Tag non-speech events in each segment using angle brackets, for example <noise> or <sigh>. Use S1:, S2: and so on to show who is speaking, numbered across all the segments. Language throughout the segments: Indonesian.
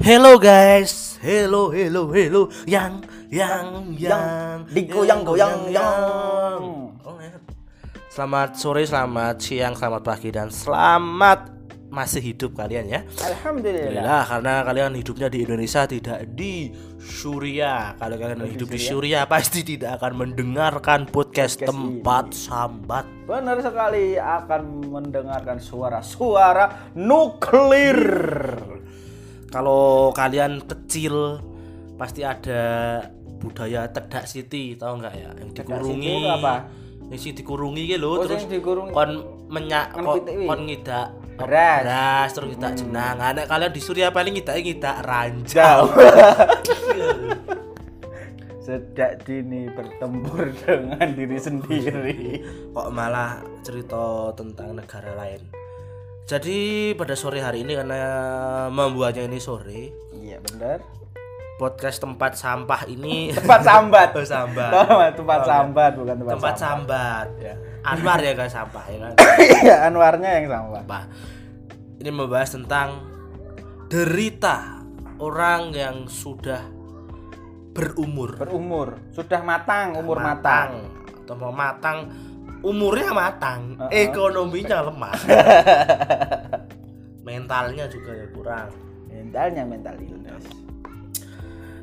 S1: Hello guys, hello hello hello, yang yang yang
S2: Yang, digoyang, goyang, yang.
S1: Oh, enak. Selamat sore, selamat siang, selamat pagi dan selamat masih hidup kalian ya.
S2: Alhamdulillah.
S1: Alhamdulillah karena kalian hidupnya di Indonesia tidak di Suria. Kalau kalian hidup di Suria pasti tidak akan mendengarkan podcast
S2: Podcast
S1: tempat sambat.
S2: Benar sekali akan mendengarkan suara-suara nuklir.
S1: Kalau kalian kecil pasti ada budaya tedak city tahu nggak ya yang dikurungi
S2: City itu apa?
S1: yang sih dikurungi gitu loh
S2: Oh,
S1: terus
S2: sing dikurungi.
S1: kon menyak
S2: Kon
S1: kon,
S2: pitik wi.
S1: kon ngidak
S2: Beras. Hmm.
S1: beras terus ngidak jenang anak kalian di Suria paling ngidak ngidak ranjau
S2: Jauh. Sejak dini bertempur dengan diri sendiri.
S1: kok malah cerita tentang negara lain jadi pada sore hari ini karena membuatnya ini sore
S2: Iya benar.
S1: podcast tempat sampah ini
S2: Tempat sambat.
S1: <laughs> Oh, sambat. Oh,
S2: Tahu nggak, tempat sambat bukan tempat,
S1: Iya. tempat
S2: sambat.
S1: sambat ya. Anwar ya guys sampah ya
S2: <laughs>
S1: kan
S2: Iya, Anwarnya yang sambat.
S1: sampah ini membahas tentang derita orang yang sudah berumur
S2: Berumur, sudah matang, umur matang.
S1: matang atau mau matang umurnya matang
S2: Uh-uh.
S1: ekonominya
S2: <laughs>
S1: lemah mentalnya juga ya kurang
S2: Mentalnya mental illness.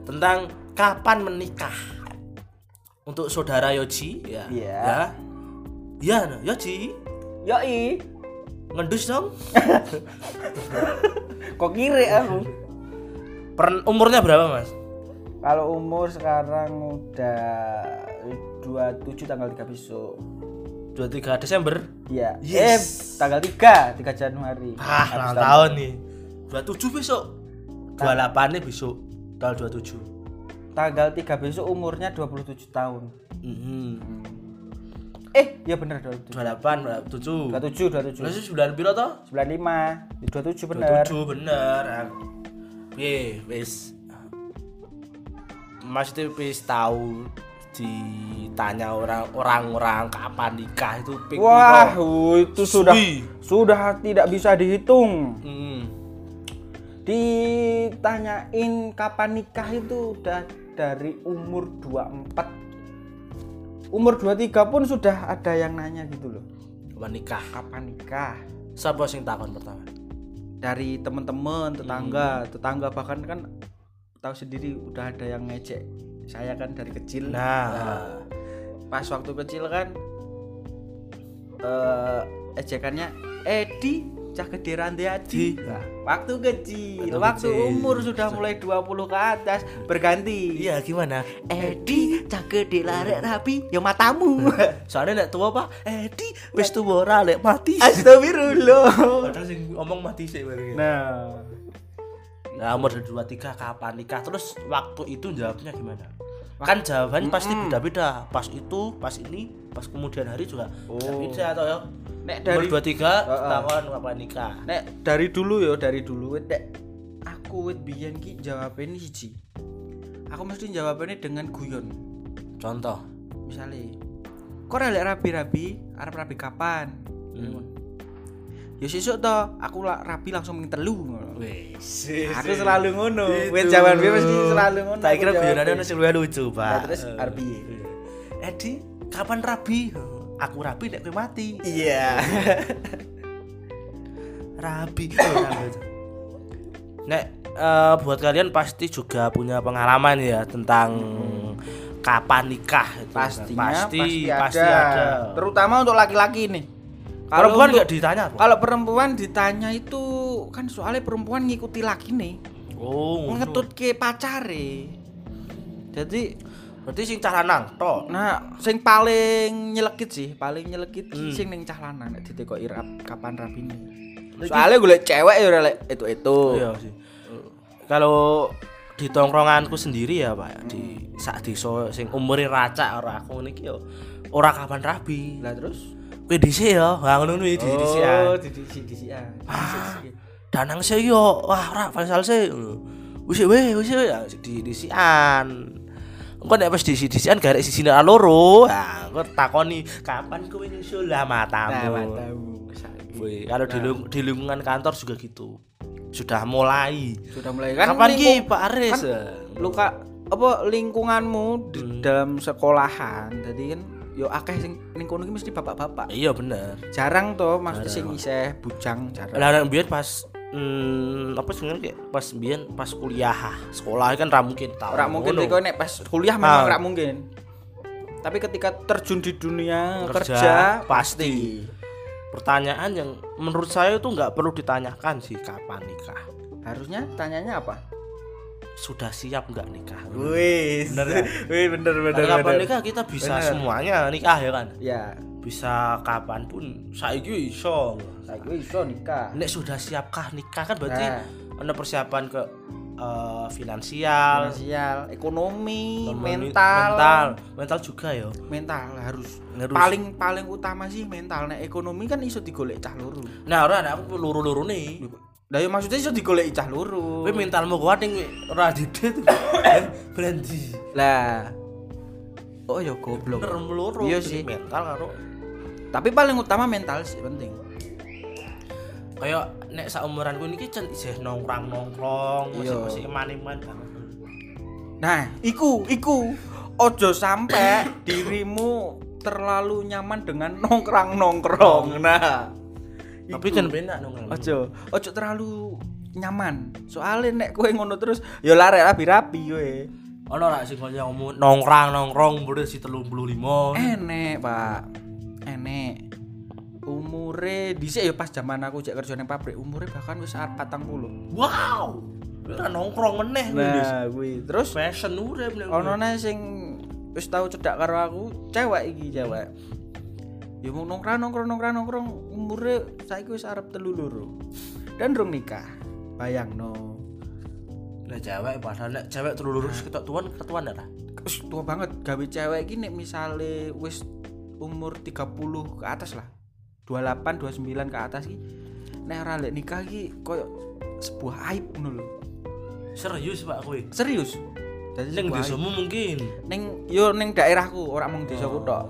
S1: tentang kapan menikah untuk saudara Yoji ya
S2: Iya.
S1: ya ya Yoji
S2: Yoi,
S1: ngendus dong
S2: kok kiri aku?
S1: Per- umurnya berapa mas
S2: Kalau umur sekarang udah 27 tanggal 3 besok.
S1: 23 Desember
S2: Iya.
S1: Yes.
S2: Eh, tanggal 3, 3 Januari.
S1: ah
S2: Habis
S1: ulang
S2: tahun.
S1: tahun nih Kan? 27 besok 28 nih besok tanggal 27
S2: Tanggal 3 besok umurnya 27 tahun.
S1: Mhm.
S2: Eh, ya bener 27.
S1: 28 27
S2: 27, 27.
S1: Terus bulan piro toh?
S2: 95. 27 bener.
S1: 27 bener. Ang. Piye wis. Maksudnya wis tahu ditanya orang orang-orang kapan nikah itu pik
S2: Wah, itu sudah
S1: Sui.
S2: sudah tidak bisa dihitung.
S1: Hmm.
S2: Ditanyain kapan nikah itu udah dari umur 24. Umur 23 pun sudah ada yang nanya gitu loh.
S1: Kapan nikah?
S2: Kapan nikah?
S1: Siapa sing takon pertama?
S2: Dari teman-teman, tetangga,
S1: Hmm.
S2: tetangga bahkan kan tahu sendiri udah ada yang ngecek. Saya kan dari kecil.
S1: Nah,
S2: pas waktu kecil kan eh ejekannya Edi cah gede rantai Adi
S1: Di.
S2: Nah, waktu kecil
S1: Waktu
S2: waktu
S1: kecil.
S2: umur sudah mulai 20 ke atas berganti
S1: iya gimana?
S2: Edi cah gede larek rapi ya
S1: <laughs>
S2: matamu
S1: Soalnya nek tua pak, Edi wis tuwa ora lek mati.
S2: astagfirullah
S1: Padahal sing ngomong mati sih bareng.
S2: nah
S1: Nah, umur 23 kapan nikah? Terus waktu itu jawabnya gimana? Kan jawaban pasti beda-beda. Pas itu, pas ini, pas kemudian hari juga beda-beda atau ya.
S2: Oh. nek
S1: Umur
S2: dari
S1: 23 tahun kapan nikah?
S2: nek dari dulu ya dari dulu wit, nek aku wit biyen ki jawabane siji aku mesti jawabane dengan guyon
S1: Contoh.
S2: misalnya kok relek rapi-rapi arep rapi kapan
S1: Hmm.
S2: ya sesuk to aku la- rapi langsung ming telu ngono.
S1: Wes.
S2: aku selalu ngono wit jawaban gue mesti selalu ngono
S1: Tak kira
S2: aku jawab
S1: guyonane
S2: gue.
S1: ono sing luwih lucu,
S2: Nah,
S1: Pak.
S2: terus
S1: Eh.
S2: arep piye?
S1: Edi, kapan rabi? Aku rabi nek kowe mati.
S2: iya
S1: Rabi. Eh, rabi. Nek eh, buat kalian pasti juga punya pengalaman ya tentang kapan nikah itu.
S2: pastinya
S1: pasti
S2: pasti, ada. terutama untuk laki-laki nih
S1: Kalau bukan
S2: untuk-
S1: nggak ditanya apa?
S2: kalau perempuan ditanya itu kan soalnya perempuan ngikuti laki nih
S1: Oh,
S2: ngetut ke pacare jadi
S1: Berarti sing cara nang to.
S2: Nah, sing paling nyelekit sih, paling nyelekit
S1: Hmm.
S2: ki sing ning cah lanang nek ditekoki rap kapan rapine. Soalnya gue liat cewek ya ora lek itu-itu.
S1: Iya sih. Kalau di tongkronganku sendiri ya pak di sak desa sing umure racak ora aku niki yo ora kapan rabi
S2: Lah terus
S1: kowe dhisik ya ha ngono kuwi di dhisik ya.
S2: Oh, di di di di- ah. Di- di- di-
S1: Danang sih yo, wah ora Faisal sih. Wis we, wis we ya sik disian. Engko nek wis disi-disian garek sisine ra loro, ah engko takoni kapan kowe nyusul lah
S2: Nah,
S1: matamu.
S2: matamu. Saiki.
S1: Weh, kalau di, lung- di lingkungan kantor juga gitu. sudah mulai
S2: Sudah mulai kan?
S1: kapan ki
S2: lingkung-
S1: Pak Aris kan
S2: Luka apa lingkunganmu di dalam sekolahan tadi kan yo akeh sing ning kono ki mesti bapak-bapak.
S1: iya bener
S2: Jarang toh maksudnya sing isih bujang jarang.
S1: lah nek biyen pas hmm, apa sebenarnya kayak pas biyen pas kuliah sekolah kan ra mungkin tahu
S2: Ora mungkin
S1: ngono.
S2: kok nek pas kuliah memang
S1: Ah.
S2: ora mungkin. Tapi ketika terjun di dunia kerja,
S1: Kerja, pasti. pertanyaan yang menurut saya itu nggak perlu ditanyakan sih kapan nikah
S2: harusnya tanyanya apa?
S1: sudah siap nggak nikah
S2: <laughs> Wis.
S1: Bener nggak?
S2: Wih, bener kan?
S1: Nah, kapan nikah kita bisa
S2: Bener.
S1: semuanya nikah ya kan
S2: Ya,
S1: bisa kapan pun saiki iso
S2: saiki iso nikah.
S1: nek sudah siapkah nikah kan berarti
S2: Nah.
S1: ada persiapan ke eh, finansial,
S2: Finansial, ekonomi,
S1: ekonomi,
S2: mental,
S1: mental mental juga ya
S2: mental harus.
S1: Harus.
S2: paling paling utama sih mental nek ekonomi kan iso digolek cah loro
S1: nah ora ada aku luru-luru nih
S2: lah ya maksudnya iso digolek cah loro
S1: Kowe mentalmu kuat ning ora <coughs> dide tuh. Brandi.
S2: lah oh ya goblok
S1: Bener meluru.
S2: Iya sih.
S1: mental karo
S2: tapi paling utama mental sih penting
S1: kayak nek saumuranku niki cen isih nongkrong-nongkrong,
S2: Iya.
S1: masih masih iman-iman banget.
S2: nah iku iku ojo sampai dirimu terlalu nyaman dengan nongkrong nongkrong nah
S1: Tapi jan penak nongkrong.
S2: ojo ojo terlalu nyaman soalnya nek kowe ngono terus ya larek rapi rapi kowe
S1: Ono ora sing kaya ngomong nongkrong-nongkrong mburi si 35.
S2: enek pak enek umure dhisik ya pas zaman aku cek kerja ning pabrik umure bahkan wis arep 40
S1: Wow. Ora nongkrong meneh Indonesia.
S2: nah kuwi terus
S1: Fashion urip nek.
S2: ono ne sing wis tau cedak karo aku cewek iki cewek ya mau nongkrong nongkrong nongkrong nongkrong umure saiki wis arep telu loro dan rung nikah bayangno
S1: Nah, cewek padahal nek cewek terlalu lurus ketok tuan ketuan ora.
S2: Us, tua banget gawe cewek iki nek misale wis umur 30 ke atas lah 28 29 ke atas iki nek ora lek nikah iki koyo sebuah aib ngono lho
S1: Serius Pak kowe.
S2: serius dadi
S1: Ning
S2: sebuah aib.
S1: desamu mungkin.
S2: ning yo ning daerahku ora mung
S1: Oh.
S2: desaku tok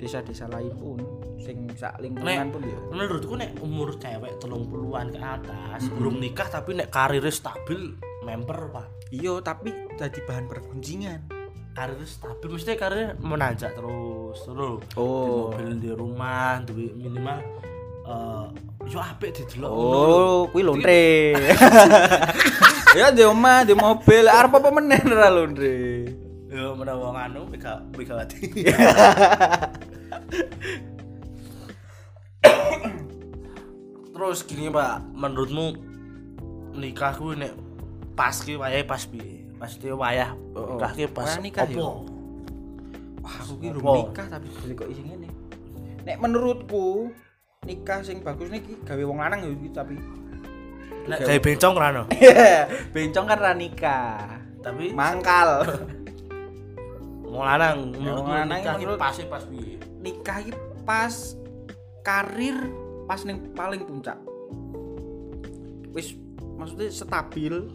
S2: desa-desa lain pun sing sak
S1: Nek-
S2: lingkungan pun yo
S1: menurutku nek umur cewek telung puluhan ke atas belum nikah tapi nek karirnya stabil member pak
S2: iya tapi jadi bahan perbincangan
S1: karirnya stabil mesti karirnya menanjak terus terus di
S2: oh
S1: mobil di rumah duit minimal eh yo apik didelok ngono lho.
S2: oh kuwi lontre <laughs> ya di omah di mobil arep apa meneh ora lontre
S1: yo menawa nganu mega megawati <laughs> terus gini pak menurutmu nikah kuwi nek pas ki wayahe pas piye pasti wayah
S2: Oh, oh.
S1: nikah ki pas
S2: Wayah nikah
S1: opo?
S2: Wah, aku ki
S1: Apa?
S2: belum nikah tapi beli kok ising ngene. Nek menurutku nikah sing bagus niki gawe wong lanang ya iki tapi <laughs>
S1: nek gawe bencong ra no
S2: bencong kan ra nikah.
S1: tapi
S2: Mangkal. <laughs>
S1: mau Ya, lanang
S2: wong
S1: menurutmu
S2: lanang
S1: nikah ki
S2: menurut-
S1: pas e pas piye
S2: nikah iki pas karir pas ning paling puncak. Wis maksudnya stabil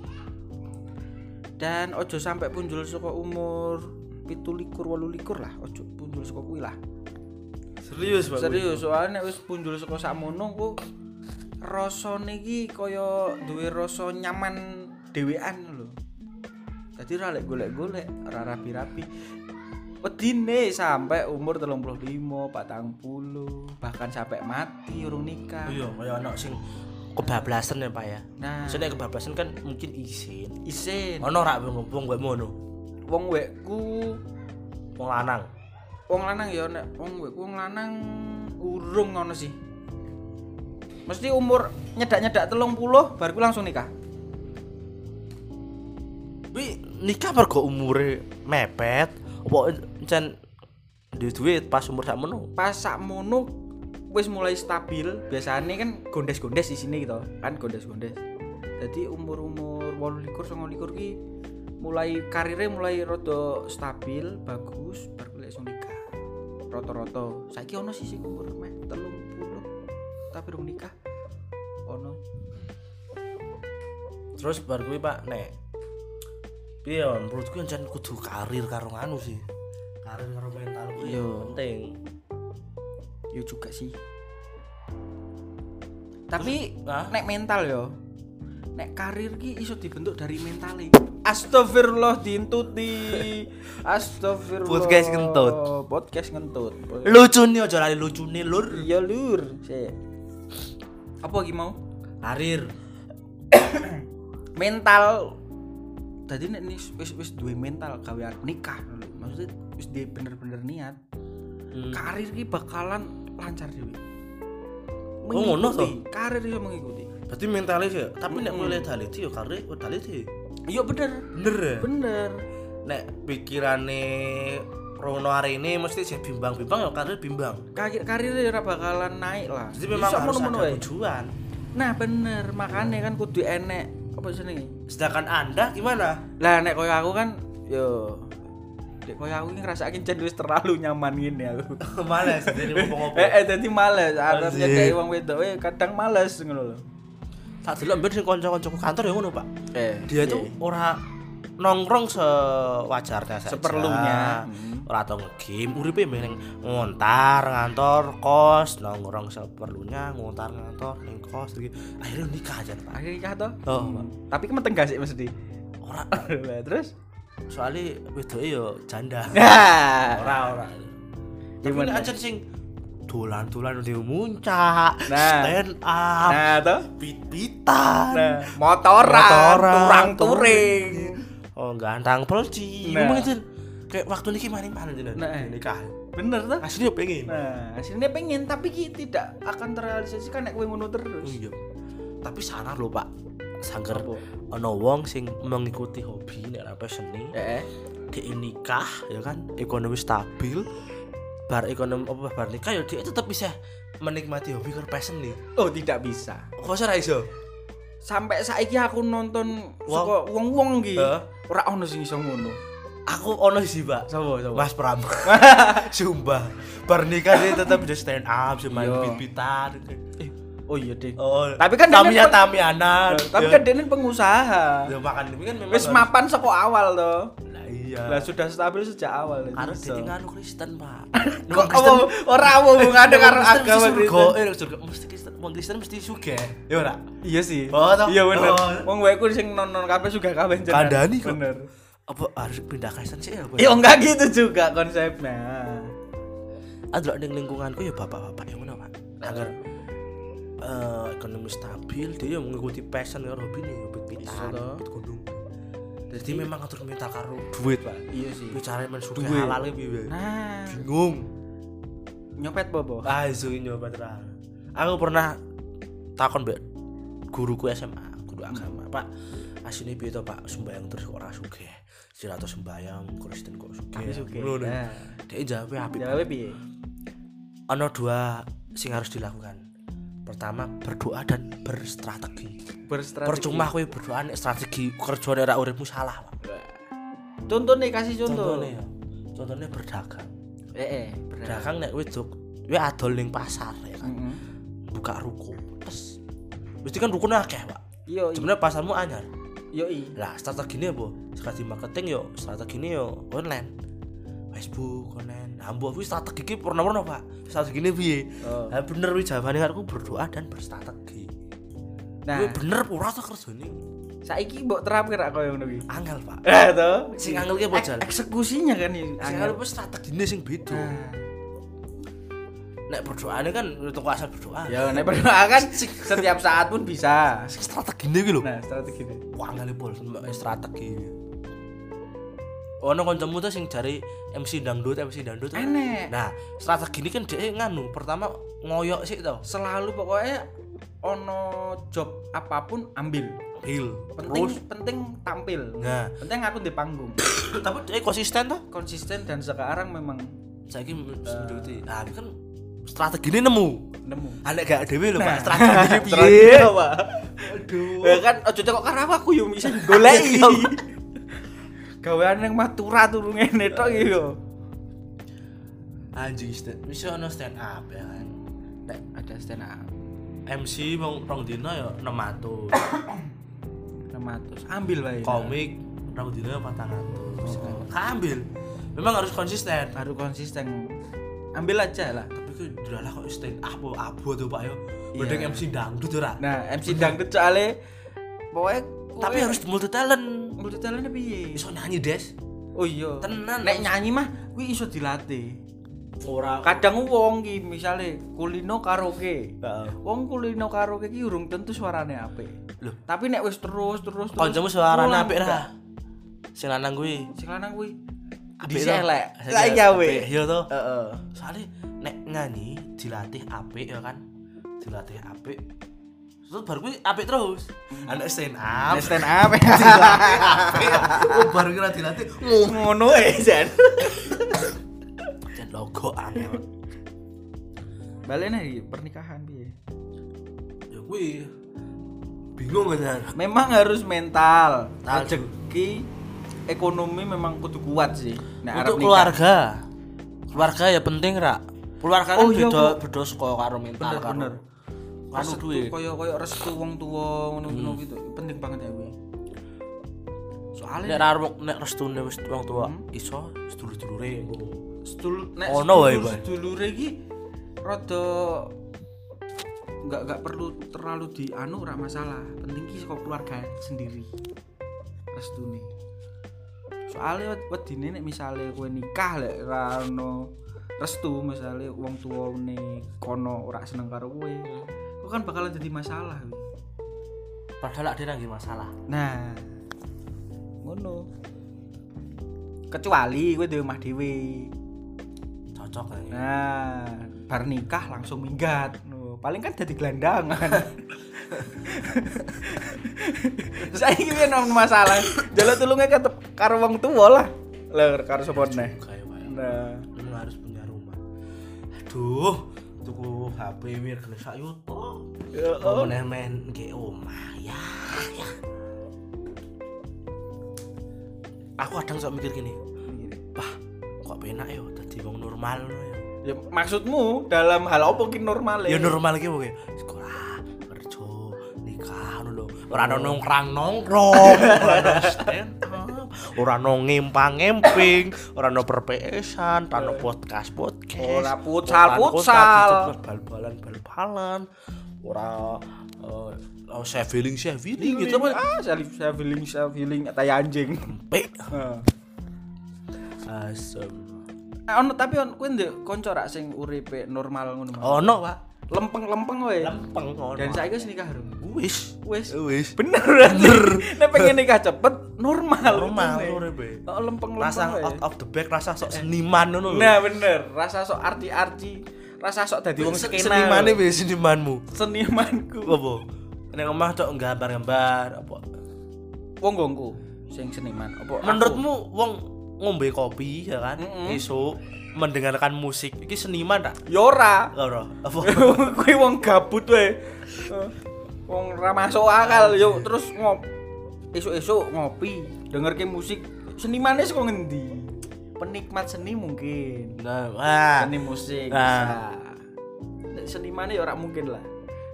S2: dan ojo sampai punjul saka umur pitu likur walu likur lah ojo punjul saka kuwi lah
S1: serius pak
S2: serius soalnya nek wis punjul saka sakmono ku rasane iki kaya duwe rasa nyaman dhewean lho. Dadi ora lek golek-golek, ora rapi-rapi. Wedine sampai umur 35, 40, bahkan sampai mati urung nikah.
S1: iya kaya ono sing kebablasan ya pak ya
S2: Nah,
S1: Maksudnya kebablasan kan mungkin izin
S2: isin
S1: ono rak ngomong gue mono
S2: wong wekku
S1: mau lanang
S2: wong lanang ya nek wong wekku wong lanang urung ngono sih. Mesti umur nyedak-nyedak 30 baru ku langsung nikah.
S1: Wi nikah mergo umure mepet apa encen duwe duit pas umur sakmono.
S2: pas sakmono wis mulai stabil biasanya kan gondes-gondes di sini gitu kan gondes-gondes jadi umur-umur walu likur songo likur ki mulai karirnya mulai rada stabil bagus baru mulai langsung nikah roto-roto saiki ono sih sing umur meh telung puluh tapi rung nikah ono
S1: Terus bar kuwi Pak nek piye ya, menurutku encen kudu karir karo anu sih. Karir karo mental kuwi
S2: Iya.
S1: penting.
S2: yo juga sih tapi
S1: Hah?
S2: nek mental yo nek karir ki iso dibentuk dari mentale astagfirullah diintuti <laughs> astagfirullah
S1: Podcast ngentut.
S2: podcast ngentut
S1: lucu nih aja lali lucu nih lur
S2: iya lur Sik. apa lagi mau
S1: karir
S2: mental tadi nek nih wis wis duwe mental gawe arep nikah maksudnya wis dia bener-bener niat
S1: Hmm.
S2: karir ki bakalan lancar dewe
S1: Oh, ngono toh?
S2: karir iso mengikuti
S1: berarti mentalnya sih tapi nek mulai dalih sih ya karir oh, dalih sih
S2: iya bener
S1: bener ya
S2: bener
S1: nek pikirane Rono hari ini mesti sih bimbang-bimbang ya karir bimbang
S2: karir karir ya ora bakalan naik lah
S1: jadi memang
S2: Iso
S1: harus
S2: ngono-ngono
S1: ada
S2: wae.
S1: tujuan
S2: nah bener makanya kan kudu enek apa jenenge
S1: sedangkan anda gimana <laughs>
S2: lah nek koyo aku kan yo nek koyo aku ini ngerasa akin wis terlalu nyaman gini aku
S1: males <laughs> jadi ngopo-ngopo
S2: eh eh jadi males artinya
S1: Anjir.
S2: kayak wong wedok eh kadang males ngono lho
S1: tak delok ben sing kanca-kancaku kantor ya ngono Pak.
S2: eh
S1: Dia tuh ora nongkrong sewajarnya saja. Hmm.
S2: Seperlunya.
S1: Ora tau nge-game, uripe meneng ngontar ngantor kos, nongkrong seperlunya ngontar ngantor ning kos iki. Akhirnya nikah aja Pak.
S2: akhirnya nikah toh
S1: Oh, Pak.
S2: tapi kemeteng gak sih <laughs> mesti
S1: Ora
S2: Lah, terus
S1: soalnya wedoke yo <laughs> janda.
S2: nah
S1: Ora ora. Tapi
S2: Gimana?
S1: nek aja sing dolan-dolan di muncak,
S2: Nah.
S1: stand up,
S2: nah toh
S1: bit-bitan.
S2: nah motoran,
S1: Motoran,
S2: turang turing
S1: Oh, gantang pelci. Nah.
S2: Nah.
S1: Ngomong aja. Kayak waktu niki maring panen jenengan
S2: Nah.
S1: nikah.
S2: bener toh
S1: Asli yo pengen.
S2: nah hasilnya pengen tapi ki tidak akan terrealisasikan nek kowe ngono terus
S1: Iya. Tapi salah lho, Pak. Sangger
S2: Apa?
S1: ono wong sing mengikuti hobi nek apa seni,
S2: eh eh.
S1: dia nikah ya kan, ekonomi stabil. Bar ekonomi apa bar nikah ya dia tetep bisa menikmati hobi karo passion nih.
S2: oh tidak bisa
S1: Kok ora iso?
S2: sampai saiki aku nonton
S1: Wong.
S2: saka wong-wong iki
S1: Heeh.
S2: ora ono sing iso ngono.
S1: Aku ono sih, Pak.
S2: Sapa sapa?
S1: Mas Pram. Sumpah. Bar nikah dia tetep bisa stand up, bisa main
S2: Iya.
S1: bit-bitan.
S2: Eh, oh iya deh.
S1: Oh,
S2: Tapi kan
S1: Tamiya
S2: dia-
S1: Tamiana.
S2: Tapi kan dene pengusaha.
S1: ya makan demi kan memang
S2: Wis
S1: harus-
S2: mapan saka awal to.
S1: Lah iya.
S2: Lah sudah stabil sejak awal itu.
S1: Harus
S2: Bisa.
S1: ditinggal Kristen,
S2: <laughs>
S1: Pak. Eh,
S2: Kok apa- ora apa hubungane karo agama
S1: surga.
S2: itu?
S1: Eh, surga mesti Kristen, wong Kristen mesti sugih. Ya ora.
S2: Iya sih.
S1: Oh, toh.
S2: Iya bener.
S1: Oh.
S2: Wong waeku sing non-non kabeh juga kabeh jenengan.
S1: Kandhani kok.
S2: Bener.
S1: Apa harus pindah Kristen sih ya, Pak?
S2: Iya enggak gitu juga konsepnya.
S1: Adelok ning lingkunganku ya bapak-bapak yang ngono, Pak. Agar eh, ekonomi stabil dia ya mengikuti passion karo hobi nih hobi
S2: Iso,
S1: pitan
S2: toh.
S1: hobi gunung jadi memang ngatur mental karo duit pak
S2: Iya sih.
S1: bicara men suka
S2: Duit.
S1: halal piye
S2: Nah,
S1: bingung
S2: nyopet bobo.
S1: Ah, isu ini nyoba terang. Aku pernah takon mbak guruku SMA, guru agama,
S2: Hmm.
S1: Pak. Asine piye to, Pak? Sembayang terus kok ora sugih. Sira to sembayang, Kristen kok sugih.
S2: Tapi sugih.
S1: Ngono.
S2: Nah.
S1: Dia jawab apik.
S2: Jawabe piye?
S1: Ono dua sing harus dilakukan. Pertama, berdoa dan berstrategi.
S2: Berstrategi.
S1: Percuma kowe berdoa nek strategi kerjane ora uripmu salah, Pak.
S2: Contoh nih kasih contoh.
S1: Contohnya ya. Contohnya berdagang.
S2: Eh, eh, benar.
S1: Berdagang nek kowe dok- kowe adol ning pasar ya kan.
S2: Mm-mm. Hmm.
S1: buka ruko terus mesti kan rukun akeh pak
S2: Yo, i-
S1: sebenarnya pasarmu anyar
S2: yo i.
S1: lah strateginya apa strategi marketing yo strateginya yo online Facebook online nah mbok kuwi strategi ki purna-purna pak strateginya piye
S2: Oh.
S1: nah, bener wis jawabane aku berdoa dan berstrategi
S2: Nah,
S1: Kuwi bener ora tuh kerjane
S2: saiki mbok terapkan aku yang ngono iki.
S1: angel pak
S2: Eh, to.
S1: Sing angel ki apa, Jal?
S2: Eksekusinya kan
S1: Eh,
S2: ini.
S1: sing angel
S2: angel.
S1: kuwi strategine sing beda
S2: Nah.
S1: nek berdoane kan itu asal berdoa
S2: Yo, nek berdoa kan setiap saat pun bisa.
S1: sing strategine ki lho
S2: Nah, strategi ini.
S1: Wah ngali pol mbak Eh, strategi. Ono kancamu tuh sing jari MC dangdut, MC dangdut. tuh.
S2: Enek.
S1: Nah, strategi ini kan dia nganu pertama ngoyok sih tau.
S2: Selalu pokoknya ono job apapun ambil.
S1: Heal.
S2: Penting
S1: Terus.
S2: penting tampil.
S1: Nah, <clears throat>
S2: Penting aku di panggung.
S1: tapi dia konsisten tuh.
S2: Konsisten dan sekarang memang
S1: Saya ini menduti. Nah, ini kan strategi ini nemu.
S2: nemu.
S1: Anak gak dewe lho pak strategi <laughs> ini piye?
S2: Strategi apa?
S1: Aduh.
S2: Ya kan ojo kok karena aku yo bisa goleki.
S1: Iya.
S2: <laughs> Gawean yang matura turu ngene tok iki yo.
S1: Anjing stand. Bisa ono stand up ya kan. Nek
S2: Ada stand up.
S1: MC wong rong dino ya <coughs> 600.
S2: 600. Ambil
S1: Iya.
S2: wae.
S1: komik rambut dino patang atus kan? ambil memang harus konsisten
S2: Baru konsisten. Ambil aja lah.
S1: tapi kan jelas kok stand up apa abu tuh pak ya? yo
S2: Iya.
S1: mending MC dangdut ora
S2: Nah, MC dangdut soalnya Pokoknya kowe-
S1: Tapi harus multi talent.
S2: multi talent piye?
S1: Iso nyanyi, Des.
S2: Oh iya.
S1: Tenan.
S2: Nek nyanyi mah kuwi iso dilatih.
S1: Ora
S2: Kadang wong ki misale kulino karaoke.
S1: Heeh.
S2: Wong kulino karaoke ki urung tentu suarane apik.
S1: Loh.
S2: tapi nek wis terus terus terus.
S1: Kancamu suarane
S2: ulang,
S1: apik
S2: enggak.
S1: ra? Sing lanang kuwi.
S2: Sing lanang kuwi
S1: Apik
S2: dhisik
S1: to?
S2: elek.
S1: Saiki
S2: Lah iya we.
S1: apik, Iya to.
S2: Heeh.
S1: Soalnya nek nyanyi dilatih apik ya kan. Dilatih apik. Terus baru kuwi apik terus. Anak stand up.
S2: Nek stand up.
S1: Dilatih apik. Oh, baru kira dilatih
S2: <laughs> Ngono e jan.
S1: dan logo angel.
S2: Balik nih pernikahan piye?
S1: Ya kuwi bingung kan.
S2: Memang harus mental,
S1: Mental.
S2: rezeki, ekonomi memang kudu kuat sih. Nek arep
S1: Untuk
S2: nikah.
S1: keluarga. Keluarga ya penting, Ra. Keluarga kan
S2: Oh, iya,
S1: beda beda saka karo mental
S2: Bener,
S1: karo.
S2: bener.
S1: Karo
S2: restu
S1: duit. Hmm.
S2: koyo koyo restu wong tua ngono-ngono gitu penting banget ya gue soalnya
S1: Nek ra nek restune wis wong tua
S2: Hmm?
S1: iso sedulur-dulure.
S2: sedul nek
S1: Ono wae, Bay.
S2: sedulure iki rada nggak nggak perlu terlalu dianu ora masalah penting ki saka keluarga sendiri restune soalnya wed- wedine nek misale kowe nikah lek ra ono restu misale wong tuwane kono ora seneng karo kowe kowe kan bakalan jadi masalah gue.
S1: Padahal ada nang masalah.
S2: Nah, ngono. Kecuali gue di rumah dewi.
S1: Cocok kan. ya.
S2: Nah, bar nikah langsung minggat. Nuh, paling kan jadi <laughs> gelandangan. Saya ingin nang masalah. Jalan tulungnya ketep karo wong tua lah. Lah karo sapa neh.
S1: Kayak wae.
S2: Nah,
S1: Lu harus punya rumah. Aduh, tuku HP wir kena sak yuto.
S2: ya
S1: Oh, meneh men ge omah ya. ya. Aku kadang sok mikir gini, wah, kok penak ya dadi wong normal ngono ya.
S2: Ya, maksudmu dalam hal apa ki normal
S1: Ya normal iki
S2: iya.
S1: pokoke sekolah, kerja, nikah ngono lho. Ora ono nongkrang nongkrong, ora ono stand up, ora ono ngempang ngemping, ora ono perpesan, ora ono podcast podcast.
S2: Ora futsal, futsal.
S1: bal-balan bal-balan. Ora eh oh, saya feeling saya feeling gitu apa?
S2: Ah, saya saya feeling saya feeling tai anjing.
S1: Empek.
S2: <laughs> Heeh.
S1: Asem.
S2: Eh, ono tapi on kuwi ndek kanca rak sing uripe normal ngono. Mas.
S1: Ono, Pak.
S2: Lempeng-lempeng wae.
S1: Lempeng ono.
S2: Dan saiki wis nikah rum.
S1: wis
S2: Wis.
S1: wis
S2: Bener berarti. Nek pengen nikah cepet normal.
S1: normal
S2: ngono wae.
S1: uripe.
S2: Oh, lempeng-lempeng.
S1: Rasa
S2: wae.
S1: out of the back, rasa sok seniman ngono lho.
S2: Nah, bener. Rasa sok arti-arti, rasa sok dadi wong
S1: Se-
S2: skena.
S1: senimane piye senimanmu
S2: senimanku.
S1: apa nek omah tok gambar-gambar apa
S2: Wong gongku sing seniman. Apa aku?
S1: menurutmu wong ngombe kopi ya kan
S2: Mm-mm.
S1: esuk mendengarkan musik iki seniman tak
S2: Ya ora. <laughs>
S1: ora apa
S2: Kuwi wong gabut wae. Eh, Wong ra masuk akal yo terus ngop esuk-esuk ngopi, dengerke musik. Senimane saka ngendi? Penikmat seni mungkin.
S1: <laughs> nah wah
S2: Seni musik.
S1: Nah.
S2: Nah. Senimane ya ora mungkin lah.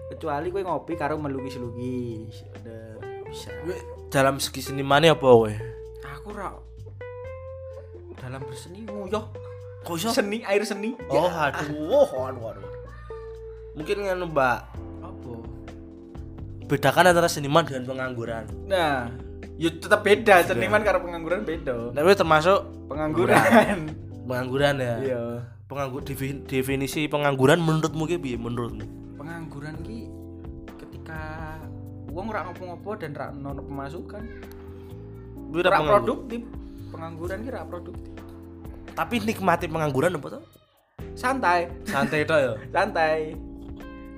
S2: Kecuali kowe ngopi karo melukis-lukis. Udah bisa.
S1: Kowe dalam segi senimane apa kowe
S2: Aku ra dalam berseni yo.
S1: kok iso
S2: Seni air seni.
S1: oh aduh aduh aduh mungkin nganu Mbak
S2: Apa?
S1: bedakan antara seniman dengan pengangguran
S2: Nah, yo tetap beda seniman karo pengangguran beda.
S1: nek kowe termasuk
S2: pengangguran
S1: pengangguran ya
S2: <laughs> iya
S1: penganggur defin- definisi pengangguran menurutmu ki piye menurutmu
S2: pengangguran ki ketika uang ora ngopo-ngopo dan ora ono pemasukan
S1: Kowe ora
S2: ora
S1: penganggur-
S2: produktif pengangguran ki ora produktif
S1: tapi nikmati pengangguran apa tuh
S2: santai
S1: santai toh ya
S2: santai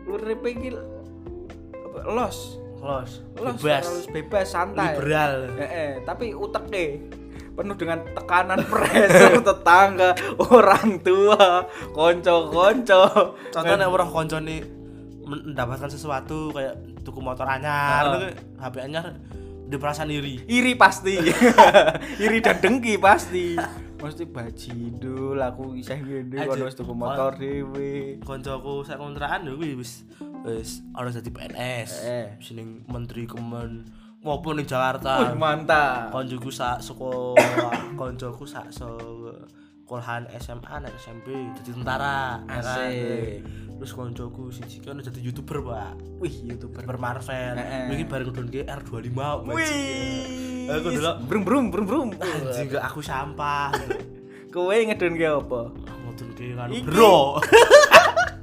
S2: urip iki apa, los
S1: los
S2: los
S1: bebas
S2: terus bebas santai
S1: liberal
S2: Eh, eh, tapi uteke penuh dengan tekanan pressure <laughs> tetangga orang tua konco-konco
S1: contohnya nek orang konco nih mendapatkan sesuatu kayak tuku motor anyar
S2: Heeh.
S1: gitu, HP anyar dia perasaan iri
S2: iri pasti <laughs> iri dan dengki pasti mesti bajidul aku isih ngene
S1: Aja.
S2: kono wis tuku motor dhewe
S1: koncoku saya kontrakan ya gue wis wis orang jadi PNS
S2: Eh.
S1: sini menteri kemen maupun di
S2: Wih,
S1: Jakarta
S2: mantap
S1: <coughs> koncoku sak sekolah koncoku sak se Kolhan SMA dan SMP jadi tentara ya kan?
S2: Asik.
S1: terus koncoku siji kan jadi youtuber pak
S2: Wih, YouTuber.
S1: youtuber Marvel
S2: Heeh.
S1: mungkin bareng kudun ke R25
S2: Wih.
S1: Aku dulu.
S2: brum brum brum brum.
S1: anjing gak aku sampah
S2: Kowe ngedon ge apa?
S1: ngudun ke kan
S2: Iki.
S1: bro <laughs>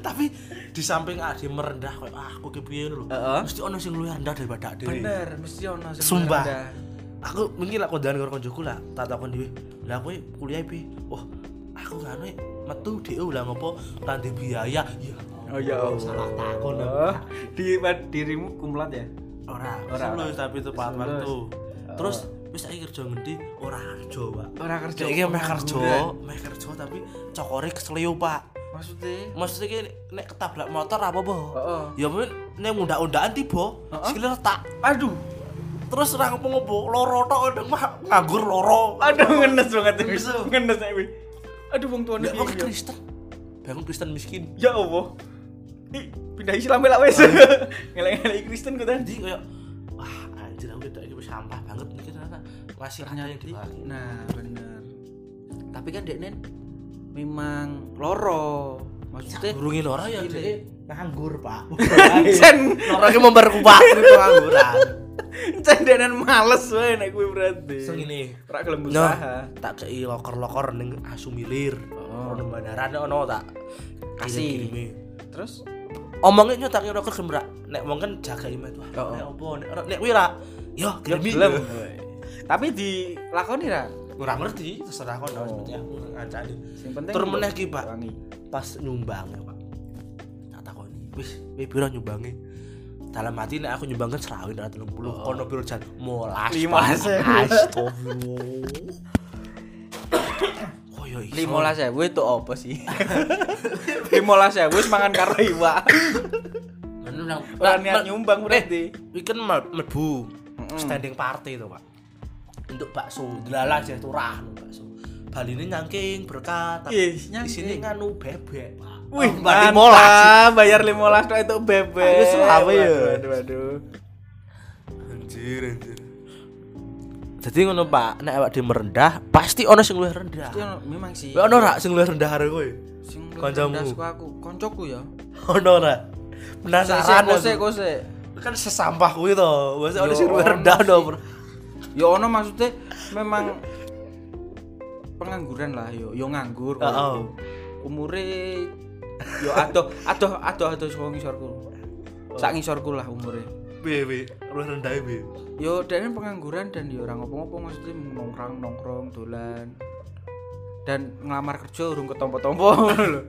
S1: tapi di samping ade merendah kayak ah aku kepiye lho
S2: Heeh.
S1: mesti ono sing luwih rendah daripada ade
S2: Bener, mesti ono sing
S1: Sumpah.
S2: ada.
S1: aku mungkin lah kondangan karo konjoku lah tak takon dhewe lah kowe kuliah piye wah aku kan metu DO lah ngopo nanti biaya ya
S2: Oh ya Allah.
S1: salah takon
S2: Oh, Di pad- dirimu kumlat ya?
S1: ora
S2: Ora,
S1: ora
S2: ora.
S1: tapi tepat
S2: Wis lulus.
S1: waktu
S2: Oh.
S1: terus wis saiki kerja ngendi ora kerja Pak
S2: Ora kerja.
S1: Iki meh kerja,
S2: Pengangguran.
S1: meh kerja tapi cokore kesleo, Pak.
S2: Maksudnya?
S1: Maksudnya iki nek ketabrak motor apa apa
S2: Heeh.
S1: Ya mungkin nek undak-undakan tiba,
S2: Heeh.
S1: sikile retak.
S2: Aduh.
S1: Terus ora ngopo-ngopo, loro tok ndeng Pak, nganggur loro.
S2: Aduh ngenes banget iki.
S1: Ngenes.
S2: Ngenes nek kuwi. Aduh wong tuane
S1: Nek wong
S2: piye, ya?
S1: Kristen, bangun Kristen miskin.
S2: Ya Allah. Ih, pindah Islam lah wes. <laughs> Ngelek-ngelek Kristen ku tadi.
S1: Jadi kayak wah anjir aku tidak ini sampah banget nih ternyata masih ada yang dibagi.
S2: Nah, bener. Tapi kan Deknen memang loro. Maksudnya
S1: Burungi loro ya
S2: Gile.
S1: jadi nganggur <laughs> pak.
S2: <laughs> Cen,
S1: Loro ki memperkuat pengangguran.
S2: cen Deknen males wae nek kuwi berarti.
S1: Sing ini
S2: Ora gelem
S1: Nah,
S2: usaha.
S1: tak kei loker-loker ning Asumilir.
S2: Oh.
S1: Ono bandaran ono tak
S2: Kasih.
S1: kirim-kirimi.
S2: Terus
S1: Omongnya nyotak loker sembrak. Nek wong kan jaga imet wah.
S2: Oh.
S1: Nek opo nek ora- nek kuwi ra. Yo,
S2: ya
S1: gelem.
S2: gelem. Tapi dilakoni ra?
S1: Ora ngerti, terserah kon
S2: Oh.
S1: seperti aku ngancani.
S2: Sing penting
S1: Tur meneh ki, Pak.
S2: wangi.
S1: pas nyumbang ya pak tak takoni wis wis piro nyumbange dalam hati nek aku nyumbangkan serawin rata enam puluh
S2: Oh.
S1: kono piro jan molas
S2: Limalas, ya.
S1: astagfirullah koyo iso
S2: 15.000 itu apa <laughs> sih? 15.000 wis mangan karo
S1: <laughs>
S2: iwak.
S1: Ngono nang
S2: Ora
S1: Nah,
S2: niat
S1: mel-
S2: nyumbang berarti.
S1: iki kan mel- mlebu standing party to pak untuk bakso delala aja turah no bakso Bali ini nyangking berkat tapi
S2: Ih,
S1: di sini
S2: nyangking.
S1: nganu bebek pak
S2: Wih,
S1: Oh, Mbak Limolas.
S2: mantap. Bayar 15 tok itu bebek.
S1: Aku selawe ya.
S2: Waduh, Waduh, waduh.
S1: Anjir, anjir. Jadi ngono Pak, nek awak dhewe merendah, pasti ono sing luwih rendah.
S2: Itu memang sih.
S1: Kowe ono rak sing luwih rendah karo kowe? <laughs>
S2: Sing
S1: Kancamu.
S2: kancamu. aku, kancaku ya.
S1: Ono rak. Penasaran
S2: Kose
S1: Nah, aku.
S2: kose.
S1: Kan sesampah kuwi to. Masa ono
S2: Yo,
S1: sing luwih
S2: ono
S1: rendah
S2: sih.
S1: no, Bro.
S2: Ya ono maksudnya memang pengangguran lah yo yo nganggur
S1: Heeh.
S2: koyo. umure yo adoh adoh adoh adoh saka ngisorku sak ngisorku lah umure
S1: Piye piye? Luwih rendah piye?
S2: yo dene pengangguran dan yo ora ngopo-ngopo maksudnya nongkrong nongkrong dolan dan ngelamar kerja urung ketompo-tompo ngono lho.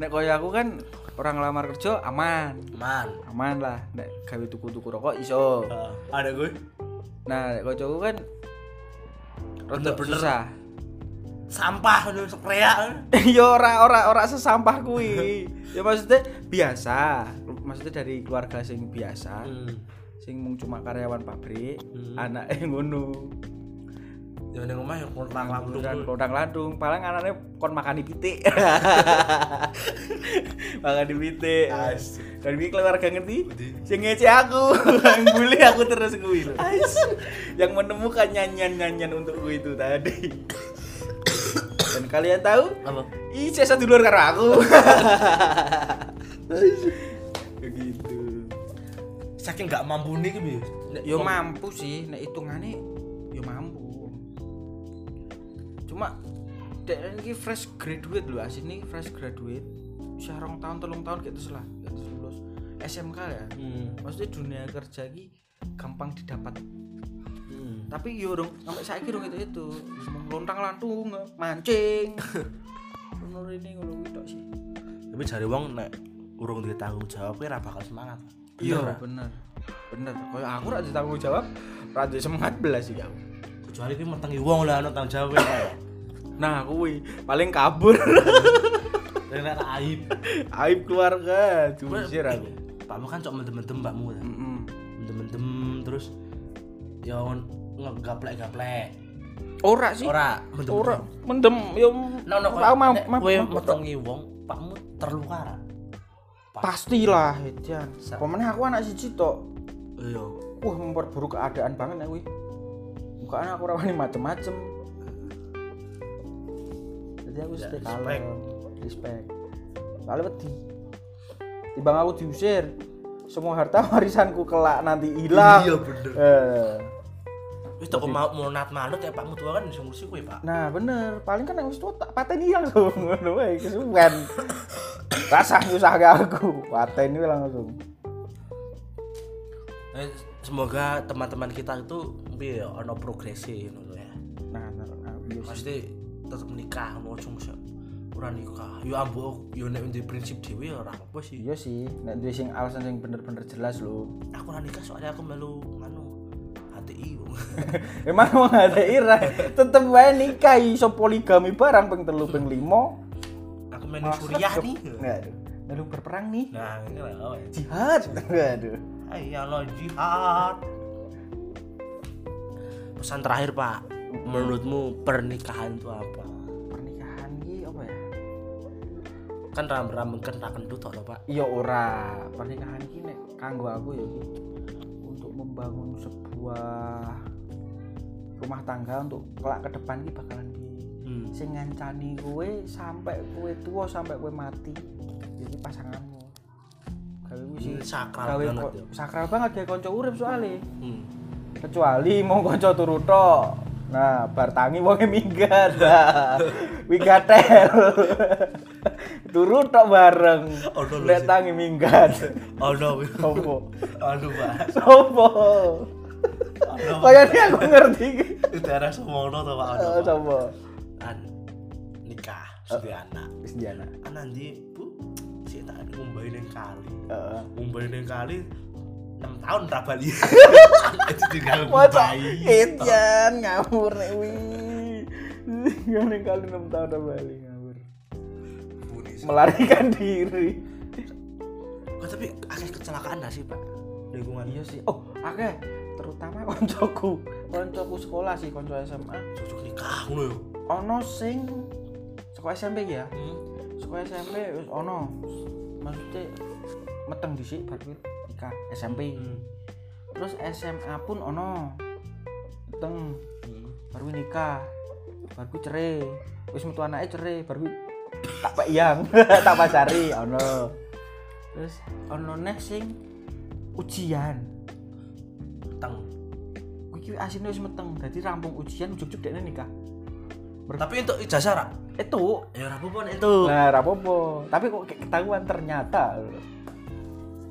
S2: nek kaya aku kan orang ngelamar kerja aman
S1: Man.
S2: aman lah nek gawe tuku-tuku rokok iso
S1: Oh. ada gue
S2: nah nek kocokku kan rada
S1: Bener-bener.
S2: susah
S1: sampah ono seprea.
S2: <laughs> yo ora ora ora sesampah kuwi ya maksudnya biasa maksudnya dari keluarga sing biasa
S1: Hmm.
S2: sing mung cuma karyawan pabrik
S1: Hmm.
S2: anak ngono
S1: Ya ning omah yo kontang lampung.
S2: Kemudian kodang landung, paling anaknya kon makan di pitik. makan di pitik.
S1: Asik.
S2: Dan ini keluarga ngerti?
S1: Ngerti.
S2: Sing ngece aku, <laughs> yang bully aku terus kuwi lho. Yang menemukan nyanyian-nyanyian untukku itu tadi. Dan kalian tahu?
S1: Apa?
S2: Ih, saya satu dulur karo aku. Ya Begitu.
S1: Saking gak mampu nih ki piye? Nek
S2: Yo mampu sih, nek hitungannya yo mampu. Cuma dek ini fresh graduate lho, asin ini fresh graduate. Usia rong tahun, telung tahun gitu lah, gitu lulus SMK ya.
S1: Hmm.
S2: Maksudnya dunia kerja ini gampang didapat.
S1: Hmm.
S2: Tapi yo dong, sampai saya kira gitu itu, lontang lantung, mancing. Menurut ini ngono kuwi tok sih.
S1: tapi jari wong nek urung duwe tanggung jawab kuwi ora bakal semangat
S2: Iya,
S1: Bener, Ra?
S2: bener. Bener. Kaya aku ra ditanggung jawab, ra duwe semangat belas iki aku.
S1: kecuali kuwi mentengi wong lah ana tanggung <laughs> jawab ya
S2: Nah, kuwi paling kabur. <laughs>
S1: nek ora aib
S2: aib keluarga jujur aku
S1: pakmu kan cok mendem-mendem pakmu kan mendem-mendem terus ya ngegaplek-gaplek
S2: ora sih
S1: ora mendem
S2: ora mendem yo
S1: no no
S2: tau
S1: kowe
S2: mam
S1: nek
S2: mam-
S1: kowe
S2: mam-
S1: metengi wong pakmu terluka ra
S2: pastilah Edian
S1: Sa-
S2: pemenang aku anak siji tok
S1: iya
S2: wah memperburuk keadaan banget aku bukan aku ora wani macem-macem dadi aku
S1: Ya,
S2: stay
S1: respect.
S2: kalem respect soalnya wedi timbang aku diusir semua harta <laughs> warisanku kelak nanti hilang
S1: Iya, bener.
S2: Eh,
S1: Wis toko mau munat manut ya Pak Mutua kan sing ngurusi kowe, Pak.
S2: nah bener paling kan aku tuh tak pateni hilang tuh <laughs> ngono wae kesuwen rasa susah gak aku pateni langsung
S1: Eh, Semoga teman-teman kita itu piye ya, ono progresi ngono ya.
S2: nah nah, nah, iya sih.
S1: Pasti tetep nikah mau cung sih. Ora nikah. Yo ambu yo nek ndek prinsip dhewe ya ora apa sih.
S2: iya sih nek duwe sing alasan sing bener-bener jelas lho
S1: Aku ora nikah soalnya aku melu anu HTI. wong.
S2: <laughs> Emang mau ada ira, tetep wae nikah iso poligami barang ping telu ping limo.
S1: aku melu suriah nih.
S2: Aduh, lalu berperang nih.
S1: Nah, ini lah. oh, ya.
S2: Jihad. Aduh.
S1: Ayolah jihad. Pesan terakhir, Pak. Menurutmu pernikahan itu apa?
S2: Pernikahan iki apa ya?
S1: Kan ram-ram kena kendut tok lho, Pak.
S2: Iya ora, pernikahan iki nek kanggo aku ya iki untuk membangun sebuah rumah tangga untuk kelak ke depan iki bakalan di
S1: Hmm.
S2: sing ngancani kowe sampai kowe tua sampai kowe mati. Jadi pasanganmu. Gawe ku
S1: Ini
S2: sih
S1: Hmm, sakral
S2: gawe
S1: banget
S2: ko-
S1: ya.
S2: sakral banget gawe kanca urip soalnya
S1: Hmm.
S2: kecuali mau konco turu tok. Nah, bar tangi wonge minggat. <laughs> Nah, Wigatel. <laughs> turu tok bareng.
S1: Ono Oh, lho
S2: Nek
S1: sih.
S2: tangi minggat. <laughs>
S1: Oh no.
S2: Sopo?
S1: Aduh, Pak.
S2: Sopo? Kayaknya aku ngerti.
S1: Itu daerah Semono tuh, Pak. Ono,
S2: Eh,
S1: Pak.
S2: Sopo?
S1: An nikah, sudah anak.
S2: Wis jana.
S1: Anak ndi, Bu? Sik tak ngumbahi ning kali.
S2: Heeh.
S1: Ngumbahi ning kali 6 tahun ra bali. <laughs> Itu tinggal
S2: Masa
S1: ngumbahi.
S2: gitu. Etian ngawur eh, nek wi. <laughs> Ngene kali 6 tahun udah balik ngawur.
S1: Buni
S2: Melarikan diri.
S1: Kok Oh, tapi akeh kecelakaan gak sih, Pak? Lingkungan
S2: iya sih oh akeh terutama koncoku koncoku sekolah sih konco SMA
S1: cocok nikah ngono yo.
S2: ono sing sekolah SMP ya
S1: Hmm.
S2: sekolah SMP wis ono maksudnya meteng dhisik baru kuwi nikah SMP
S1: Hmm.
S2: terus SMA pun ono meteng
S1: Hmm.
S2: baru kuwi nikah baru kuwi cerai wis metu anake cerai baru kuwi tak pak yang <laughs> tak pasari ono terus ono neh sing ujian
S1: Teng.
S2: Kuwi ki asine wis meteng, dadi rampung ujian ujug-ujug dekne nikah.
S1: Tapi untuk ijazah ra?
S2: Itu
S1: Ya ora apa-apa nek itu.
S2: Nah, ra apa-apa. Tapi kok kayak ketahuan ternyata. lho.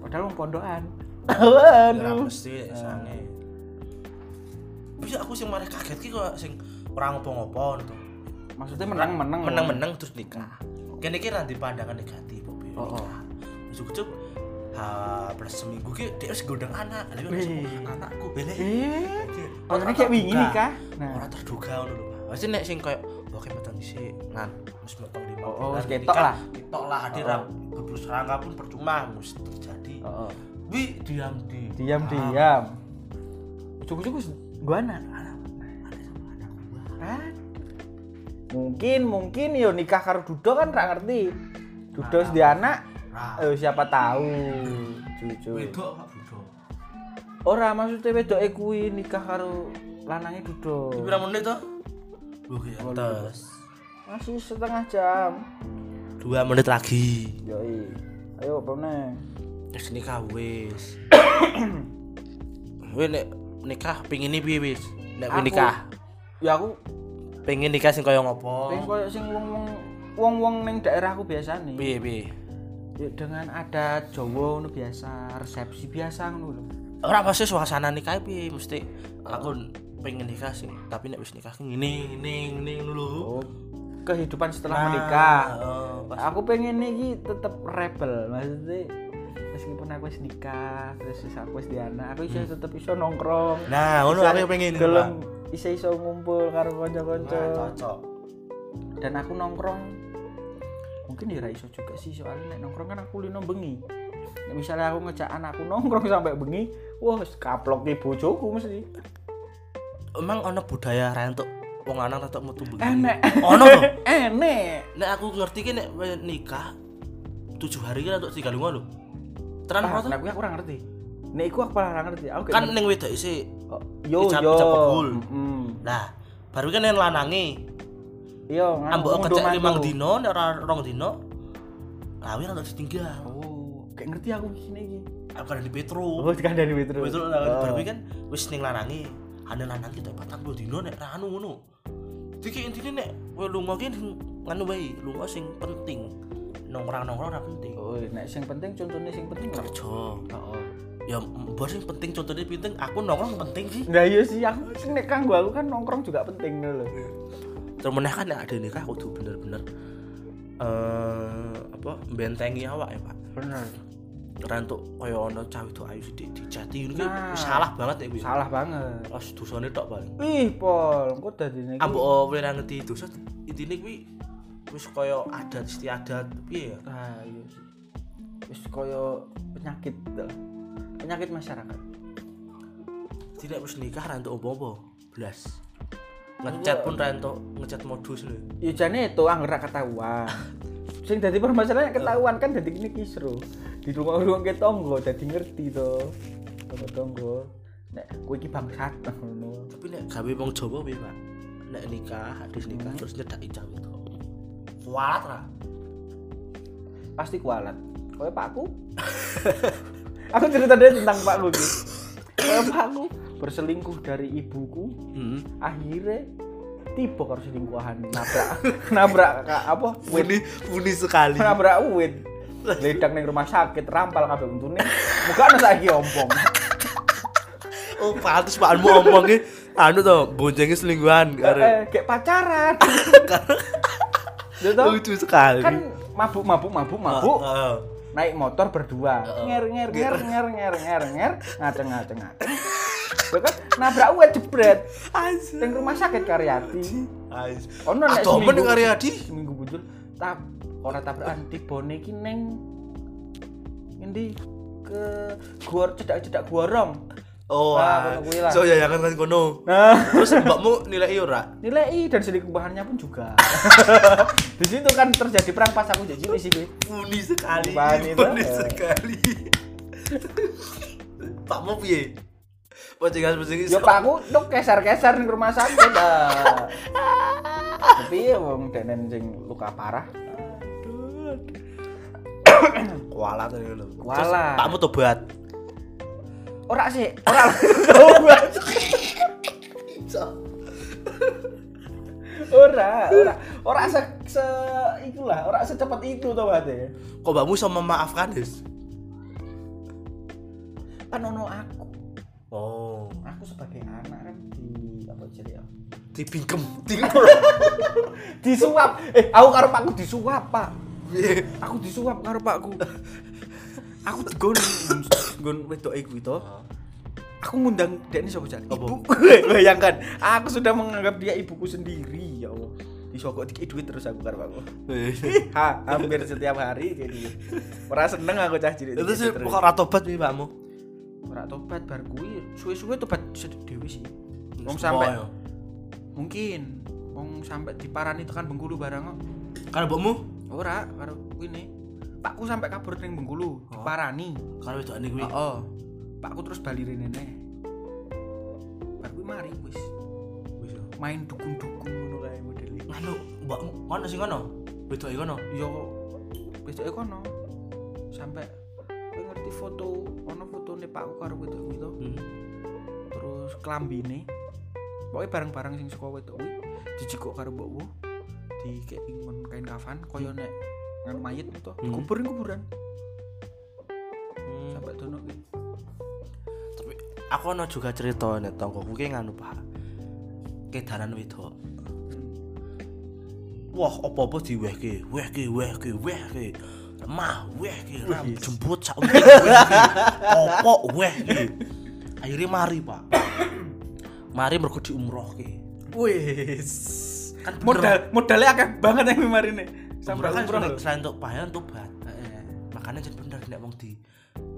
S2: Padahal wong pondokan.
S1: Ya ra
S2: Aduh.
S1: mesti sange. Bisa aku sing marah kaget ki kok sing ora ngopo-ngopo gitu. to.
S2: Maksudnya
S1: Kan
S2: menang-menang.
S1: Meneng-meneng terus nikah. Nah. Kene iki ra di pandangan negatif opo.
S2: Oh, oh.
S1: Cocok-cocok ha plus seminggu ki dia wis gondang anak. Lha
S2: Wih.
S1: kok anakku bele.
S2: Eh,
S1: Orang
S2: padahal kayak wingi
S1: terduga.
S2: nikah.
S1: ora
S2: Nah,
S1: terduga ngono lho. Pak. Pasti nek sing koyo oke meteng dhisik, ngan wis meteng lima.
S2: Oh, oh,
S1: bulan
S2: wis ketok
S1: nikah,
S2: lah.
S1: Ketok lah hadir
S2: Oh, oh.
S1: berbulu serangga pun percuma wis terjadi.
S2: oh, oh.
S1: Wi diam di.
S2: diam-diam. Ujug-ujug wis guana. Kan? Mungkin mungkin yo nikah karo Dudo kan ra ngerti. Dudo wis di anak,
S1: Ra.
S2: eh, siapa tahu. Jujur.
S1: Wedok Pak Budo.
S2: Ora maksudnya wedoke kuwi nikah karo lanange Dudo.
S1: Iki Pirang menit to? Loh ya
S2: Oh,
S1: tes.
S2: Masih setengah jam.
S1: Dua menit lagi.
S2: Yoi. Ayo pemne.
S1: Wis nikah <coughs> wis. Wi nek nikah pengin ini piye wis? Nek wi
S2: Aku-
S1: nikah
S2: Ya aku
S1: pengin nikah sing koyo
S2: pengen
S1: ngopo?
S2: koyo sing wong-wong wong-wong ning daerahku biasa nih.
S1: Piye piye?
S2: Ya, dengan adat Jawa ngono biasa, resepsi biasa ngono lho.
S1: ora pasti suasana nikah piye mesti
S2: Oh.
S1: aku pengen nikah sih tapi nek wis nikah ki ngene ngene ngene ngono lho
S2: Oh. Kehidupan setelah
S1: Nah,
S2: menikah.
S1: oh, pas-
S2: Aku pengen iki tetep rebel maksudnya meskipun aku wis nikah terus wis aku wis di anak aku iso tetep iso nongkrong
S1: nah ngono Hmm.
S2: Bisa
S1: aku yang pengen
S2: gelem iso iso ngumpul karo kanca-kanca
S1: Pak. cocok
S2: dan aku nongkrong mungkin ya ra iso juga sih soalnya nek nongkrong kan aku lino bengi nek misalnya aku ngejak anakku nongkrong sampai bengi wah wis kaplok di bojoku mesti
S1: emang ono budaya rentok wong lanang tetep metu bengi
S2: enek
S1: ono to
S2: <laughs> enek
S1: nek aku ngerti ki nek we- nikah tujuh hari ki rentok tiga lima lho tenan apa
S2: ah,
S1: Kan to
S2: nek aku ora ngerti nek iku aku malah ora ngerti aku
S1: kan ning wedok isi
S2: kayak- yo
S1: dicap-
S2: yo
S1: dicap pegul.
S2: Mm-mm.
S1: nah baru kan yang lanangi
S2: Iya, nganu,
S1: Ambok
S2: mundur
S1: kecek
S2: mantu.
S1: limang dino, nek ora rong dino. Lawir atau ditinggal.
S2: Oh, kayak ngerti aku sini iki.
S1: Aku kan di Petro.
S2: Oh, kan dari Metro.
S1: Petro nang
S2: Oh.
S1: Barbie kan wis ning lanange. Ane lanang kita patang puluh dino nek ra anu ngono. Iki intine nek kowe lunga ki nganu wae, lunga sing penting. Nongkrong-nongkrong ora penting.
S2: Oh, nek sing penting contohnya sing penting apa?
S1: Kerja.
S2: Heeh.
S1: Ya mbok sing penting contohnya penting, aku nongkrong penting sih.
S2: Nah, iya sih aku sing nek kanggo aku kan nongkrong juga penting lho.
S1: terus meneh kan nek ada nikah kudu bener-bener eh apa bentengi awak ya pak
S2: Bener.
S1: keren tuh kaya ono cah itu ayu sithik dijati ini
S2: Nah.
S1: salah banget ya gue
S2: Salah banget.
S1: pas dosane tok Ah, paling
S2: Ih, Pol, kok dadi nek
S1: ambek oleh ra oh, ngerti dosa intine kuwi wis kaya adat istiadat piye ya
S2: Ah, iya sih. Wis koyo penyakit dah. Penyakit masyarakat.
S1: tidak wis nikah ra entuk apa-apa blas ngecat pun ra entuk ngecat modus lho
S2: Ya jane itu angger ra ketahuan. sing dadi permasalahan ketahuan kan dadi ini kisru. Di rumah-rumah ke tonggo dadi ngerti to. Tonggo tonggo. Nek kowe iki bangsat <laughs> ngono.
S1: tapi nek gawe wong Jawa piye pak nek nikah hadis nikah terus nyedaki cah itu kualat ra
S2: Pasti kualat. Kowe pakku. aku cerita deh tentang pakku iki. Kowe pakku berselingkuh dari ibuku
S1: heeh
S2: akhirnya tiba karo selingkuhan nabrak <laughs> nabrak ka- apa
S1: <laughs>
S2: wit
S1: Puni, puni sekali.
S2: nabrak wit ledak ning rumah sakit rampal kabeh untune muka ana saiki ompong
S1: Oh, pantes Pak Anmu omongnya anu to, boncengnya selingkuhan karena
S2: eh, kayak pacaran Dia tau,
S1: lucu Ah, sekali.
S2: kan mabuk mabuk mabuk mabuk
S1: Heeh.
S2: naik motor berdua nger nger nger nger nger nger nger ngaceng ngaceng ngaceng Dia kan nabrak wit jebret
S1: Anjir.
S2: ning rumah sakit karyati
S1: Anjir.
S2: Ono nek
S1: Atau men
S2: seminggu-
S1: Karyadi?
S2: seminggu bujur tab ora tabrakan tibone iki ning ngendi ke gua cedak-cedak gua rong
S1: Oh, ah.
S2: Ah, kuwi lah.
S1: so ya jangan kan kono.
S2: nah
S1: Terus mbakmu nilai iya ora?
S2: nilai dan selingkuhannya pun juga <laughs> di situ kan terjadi perang pas aku jadi sini sih gue
S1: Puni sekali.
S2: Apaan itu?
S1: Puni sekali. Pak mau piye? Boncengan boncengan.
S2: ya pak aku tuh keser-keser di rumah sakit ah. tapi ya wong denen sing luka parah
S1: Kualat ini lho.
S2: Kualat.
S1: Terus Pakmu tobat.
S2: ora sih ora ora ora ora ora se, se ikulah ora secepat itu tau berarti
S1: Kok mbakmu iso memaafkan, Des?
S2: kan ono aku
S1: Oh.
S2: aku sebagai anak kan di apa jadi ya
S1: Dibingkem,
S2: <laughs>
S1: tingkul.
S2: disuap eh aku karo pakku disuap pak
S1: Piye?
S2: aku disuap karo pakku aku gon gon wedok iku itu aku ngundang dia ini sobat
S1: Ah. Apa?
S2: <laughs> ibu bayangkan aku sudah menganggap dia ibuku sendiri ya allah disokok dikit duit terus aku karo pakku ha hampir setiap hari jadi merasa seneng aku cah cilik
S1: Itu sih
S2: dikit
S1: pokok ra tobat piye pakmu?
S2: ora tobat bar kuwi suwe-suwe tobat sedih dewi sih
S1: Semua
S2: wong sampai
S1: ya.
S2: mungkin wong sampai diparani tekan Bengkulu barang kok
S1: Kan mbokmu
S2: ora karo ini pakku sampai kabur ning
S1: Oh.
S2: Bengkulu diparani
S1: kan wedokane kuwi.
S2: oh, pakku terus bali rene neh bar kuwi mari wis
S1: Wis ya.
S2: main dukun-dukun ngono kae model iki
S1: Nganu mbakmu ngono sing ngono. Wedoke ngono.
S2: yo wedoke kono sampai kowe ngerti foto ono fotone pakku karo wedok itu terus kelambine pokoknya barang-barang sing saka wedok kuwi dijikok karo mbokku di kayak ingon kain kafan koyo nek ngan mayit itu
S1: Hmm.
S2: kubur kuburan sampai dono kuwi
S1: Tapi aku ono juga cerita nek tonggoku ki nganu Pak. Kedanan wedok. Wah, apa-apa diwehke, wehke, wehke, wehke. Mah, wehke, ram
S2: Wih.
S1: jembut sak untik wehke. Popok wehke. Akhirnya mari, Pak. <coughs> Mari mergo diumrohke.
S2: wis
S1: Kan bener.
S2: modal modalnya akeh banget yang marine
S1: Umroh
S2: sampai
S1: kan
S2: umroh
S1: selain-
S2: lho.
S1: selain untuk bahaya untuk bat.
S2: Heeh.
S1: makanya jadi bener nek wong di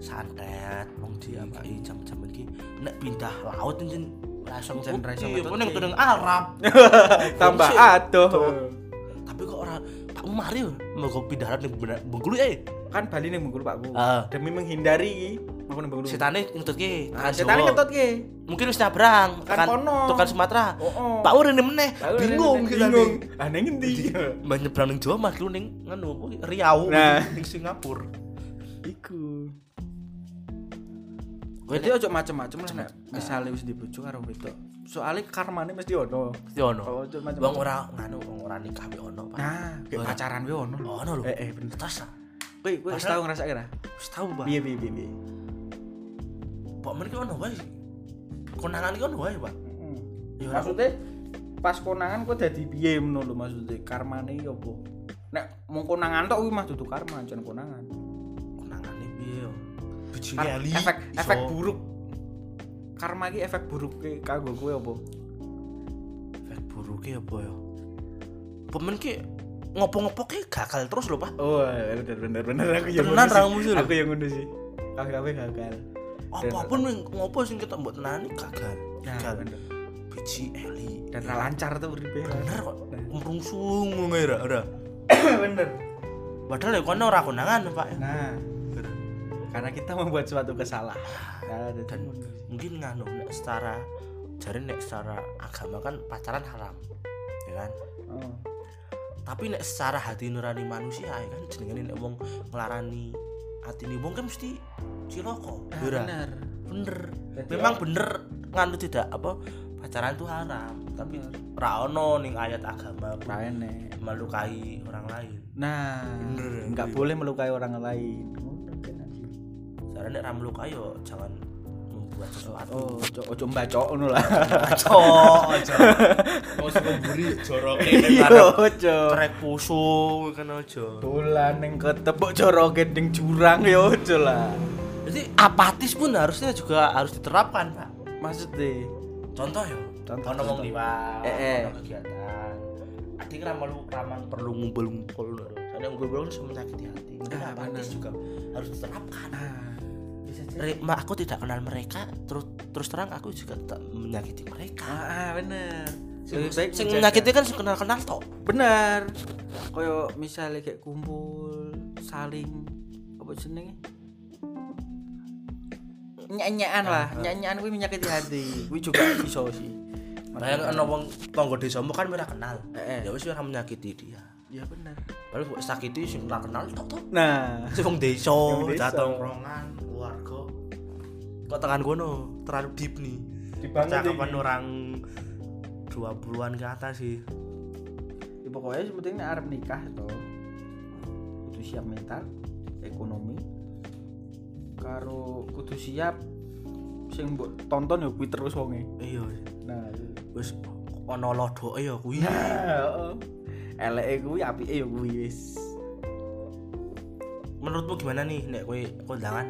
S1: santet wong di
S2: Iya,
S1: apa i jam-jam iki nek pindah laut iya, njen langsung
S2: Njen ra iso
S1: putih
S2: metu
S1: pun yang
S2: ki.
S1: tudung
S2: <laughs>
S1: Arab
S2: Iya. tambah
S1: Sik.
S2: aduh
S1: tapi kok ora Pak Umar yo mau pindah laut ning Bengkulu eh
S2: kan Bali ning Bengkulu Pakku
S1: Ah.
S2: demi menghindari Mangkon nembang dulu.
S1: setane ngentutke tangan Jawa.
S2: Setan Ah, ngetut ki.
S1: mungkin wis nyabrang
S2: Tekan kono.
S1: tekan Sumatera
S2: Oh, oh.
S1: Pak Urin meneh
S2: Tahu,
S1: bingung
S2: nenek,
S1: kita
S2: bingung.
S1: nih.
S2: Ah ning endi?
S1: Mbak nyebrang ning Jawa mas lu ning nganu apa, Riau
S2: Nah.
S1: ning Singapura
S2: Iku.
S1: kowe
S2: Jadi
S1: nek
S2: ojo macem-macem lah nek misale wis dibojo karo wedok. Soale karmane mesti ono.
S1: mesti ono
S2: Kalau ojo
S1: wong
S2: macem-macem.
S1: ora nganu wong ora nikah wae ono Pak
S2: Oh, Nah, kayak
S1: Ora.
S2: pacaran we ono.
S1: ono lho
S2: Eh, eh, bener.
S1: tas lah
S2: Kowe kowe wis
S1: Padahal-
S2: tau ngrasake ra?
S1: wis tau Pak
S2: Piye piye piye piye.
S1: Pak men ki ono wae konangan ki ono wae Pak Ya, ora.
S2: Hmm. maksudnya pas konangan kok dadi piye ngono lho maksudnya karmane iki opo? Nek mung konangan tok kuwi mah dudu karma, jan konangan.
S1: konangan iki piye yo biji
S2: Kar-
S1: lali
S2: Kan, efek
S1: iso.
S2: efek buruk. Karma iki efek buruk ke kanggo kowe opo?
S1: efek buruke apa yo pemen ki ngopo-ngopo ki gagal terus lho Pak
S2: Oh, bener bener bener aku
S1: Tenan ra musuh lho.
S2: Aku yang ngono sih. Kabeh-kabeh gagal.
S1: apapun yang- ngopo sing kita mbok tenani gagal
S2: Nah,
S1: gagal
S2: bener.
S1: biji eli
S2: Dan Nah. ra lancar tuh uripe.
S1: bener kok merungsung ngono ya ora
S2: <coughs> bener.
S1: padahal ya kono ora konangan Pak ya.
S2: Nah, karena kita membuat suatu kesalahan. Nah,
S1: dan mungkin nganu nek secara jare nek secara agama kan pacaran haram ya kan
S2: oh.
S1: tapi nek secara hati nurani manusia ya kan jenengane nek wong nglarani atine wong kan mesti ciloko
S2: Nah,
S1: ya ora?
S2: bener.
S1: bener
S2: Jadi
S1: memang bener nganu tidak apa pacaran itu haram tapi ra ono ning ayat agama
S2: Ra enek.
S1: melukai orang lain
S2: Nah,
S1: Bener,
S2: nggak
S1: iya.
S2: boleh melukai orang lain. Ngono, Cek Nadi.
S1: Sekarang nek ra melukai yo jangan membuat sesuatu
S2: Oh, ojo ojo mbacok ngono lah. Oh,
S1: cok
S2: <laughs>
S1: ojo mau semburi joroke
S2: Iya, ojo.
S1: trek pusu kan ojo
S2: Dolan ning ketebok joroke ning jurang ya ojo lah.
S1: jadi apatis pun harusnya juga harus diterapkan pak
S2: Maksudnya
S1: contoh yo
S2: Contoh,
S1: ono wong
S2: contoh.
S1: liwat
S2: Eh, eh.
S1: ono kegiatan adik ra perlu raman perlu ngumpul-ngumpul lho soalnya ngumpul-ngumpul kan menyakiti hati mungkin
S2: Ah,
S1: apatis juga harus diterapkan
S2: ah, bisa jadi.
S1: Re- ma, aku tidak kenal mereka terus terus terang aku juga tidak menyakiti mereka
S2: Ah, ah, bener.
S1: sing,
S2: Lebih baik
S1: sing
S2: menjaga.
S1: menyakiti kan kenal kenal toh
S2: bener. Koyo misalnya kayak kumpul saling apa jenenge? Nyanyian lah, nyanyian kuwi menyakiti hati. Kuwi juga iso sih.
S1: Bayang ana wong tangga desamu kan ora kenal.
S2: Eh, eh.
S1: Ya wis ora menyakiti dia.
S2: Ya bener.
S1: Padahal kok sakiti sing ora kenal tok tok.
S2: Nah,
S1: Sing wong desa,
S2: Wong desa.
S1: tongkrongan, keluarga. Kok tekan kono terlalu deep nih.
S2: Deep banget
S1: Percakapan
S2: ini.
S1: orang 20-an ke atas sih.
S2: ya pokoknya yang penting nek arep nikah to kudu siap mental ekonomi karo kudu siap sing mbok tonton ya kuwi terus wonge
S1: Iya.
S2: nah
S1: Wis ana lodoke ya kuwi.
S2: <coughs> heeh eleke kuwi apike ya kuwi wis
S1: Menurutmu gimana nih nek kowe kondangan?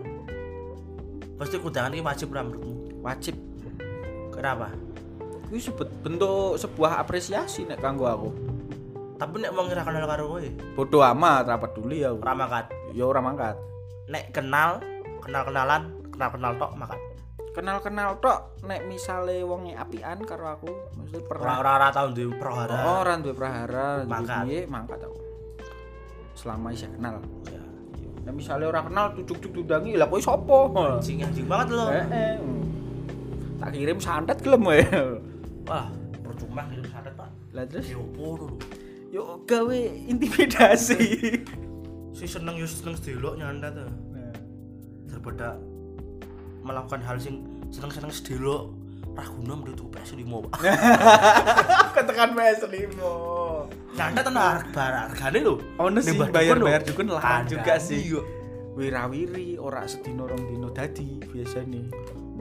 S1: Pasti kondangan ini wajib ora menurutmu?
S2: wajib
S1: Kenapa?
S2: kuwi sebut bentuk sebuah apresiasi nek kanggo aku
S1: Tapi nek wong ora kenal karo kowe,
S2: bodoh amat rapat dulu ya
S1: ora makan.
S2: ya ora mangkat
S1: Nek kenal, kenal-kenalan, kenal-kenal tok makan.
S2: kenal-kenal tok nek misale wonge apian karo aku maksudnya pernah
S1: Ora-ora tahun di
S2: Oh,
S1: perhara.
S2: ora duwe prahara, duwe
S1: Mangkat.
S2: piye mangkat aku. Selama isih kenal.
S1: Ya,
S2: Nah, misalnya ora kenal cucuk-cucuk tundangi, lah kok sapa?
S1: Anjing anjing banget lo.
S2: Heeh. Tak kirim santet gelem wae.
S1: Wah, percuma gitu santet pak.
S2: Lah terus
S1: Diopo dulu.
S2: yo gawe intimidasi.
S1: Si seneng yo seneng sedelok nyantet tuh.
S2: Nah,
S1: Daripada melakukan hal sing seneng-seneng sedelok ra guna menurut PS 5 pak.
S2: <laughs> ketekan PS5.
S1: Nyantet ana harga hargane lho.
S2: Ono sih
S1: Nembak dukun
S2: bayar-bayar
S1: lho.
S2: dukun lah
S1: Kandani
S2: juga sih.
S1: yo.
S2: Wirawiri ora sedina rong dino dadi biasane.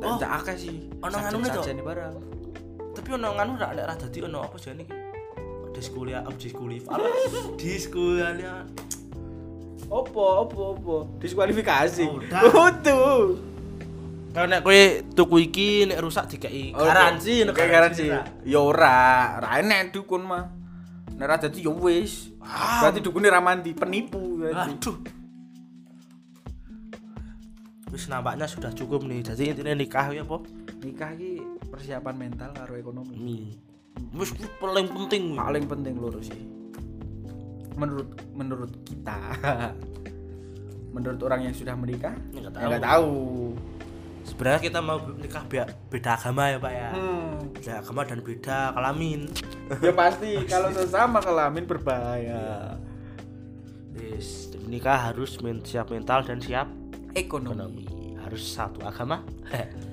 S1: Oh.
S2: Ndak akeh sih.
S1: Ono nganune, Cok?
S2: Sajane barang.
S1: Tapi ono nganu ra nek ra dadi ono apa jane iki? Diskulia, apa diskulia, apa? Diskulia,
S2: Opo, opo, opo. Diskualifikasi.
S1: Oh, udah.
S2: <laughs> Utuh.
S1: Kalau nek kowe tuku iki nek rusak dikai garansi, nek
S2: kayak Oh, iya. garansi. Ya ora, ora enek dukun mah. Nek ora dadi ya wis.
S1: Ah.
S2: Berarti dukune ra mandi, penipu ya berarti.
S1: Aduh. Wis nampaknya sudah cukup nih. Jadi intinya nikah ya apa?
S2: Nikah iki persiapan mental karo ekonomi.
S1: Mi. Wis ku paling penting. wi.
S2: Paling penting lurus sih. Menurut menurut kita. <laughs> menurut orang yang sudah menikah
S1: Nggak
S2: ya
S1: tahu.
S2: nggak tahu
S1: Sebenarnya kita mau nikah be- beda agama ya, Pak ya.
S2: hmm.
S1: Beda agama dan beda kelamin.
S2: ya pasti kalau sesama kelamin berbahaya
S1: Yes, nikah harus men- siap mental dan siap
S2: ekonomi Eh,
S1: ekonomi. Harus satu agama.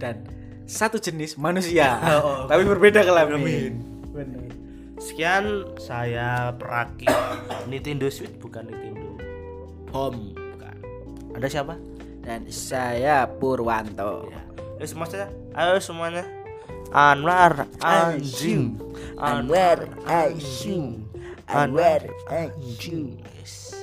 S2: dan satu jenis manusia
S1: Oh, oh.
S2: tapi berbeda kelamin benar
S1: Sekian saya <coughs> Praki Nintendo Switch bukan Nintendo Bom bukan. Ada siapa?
S2: dan saya Purwanto
S1: Ya. Ayo semuanya, ayo semuanya. Anwar Anjing. Anwar Anjing. Anwar Anjing. Yes.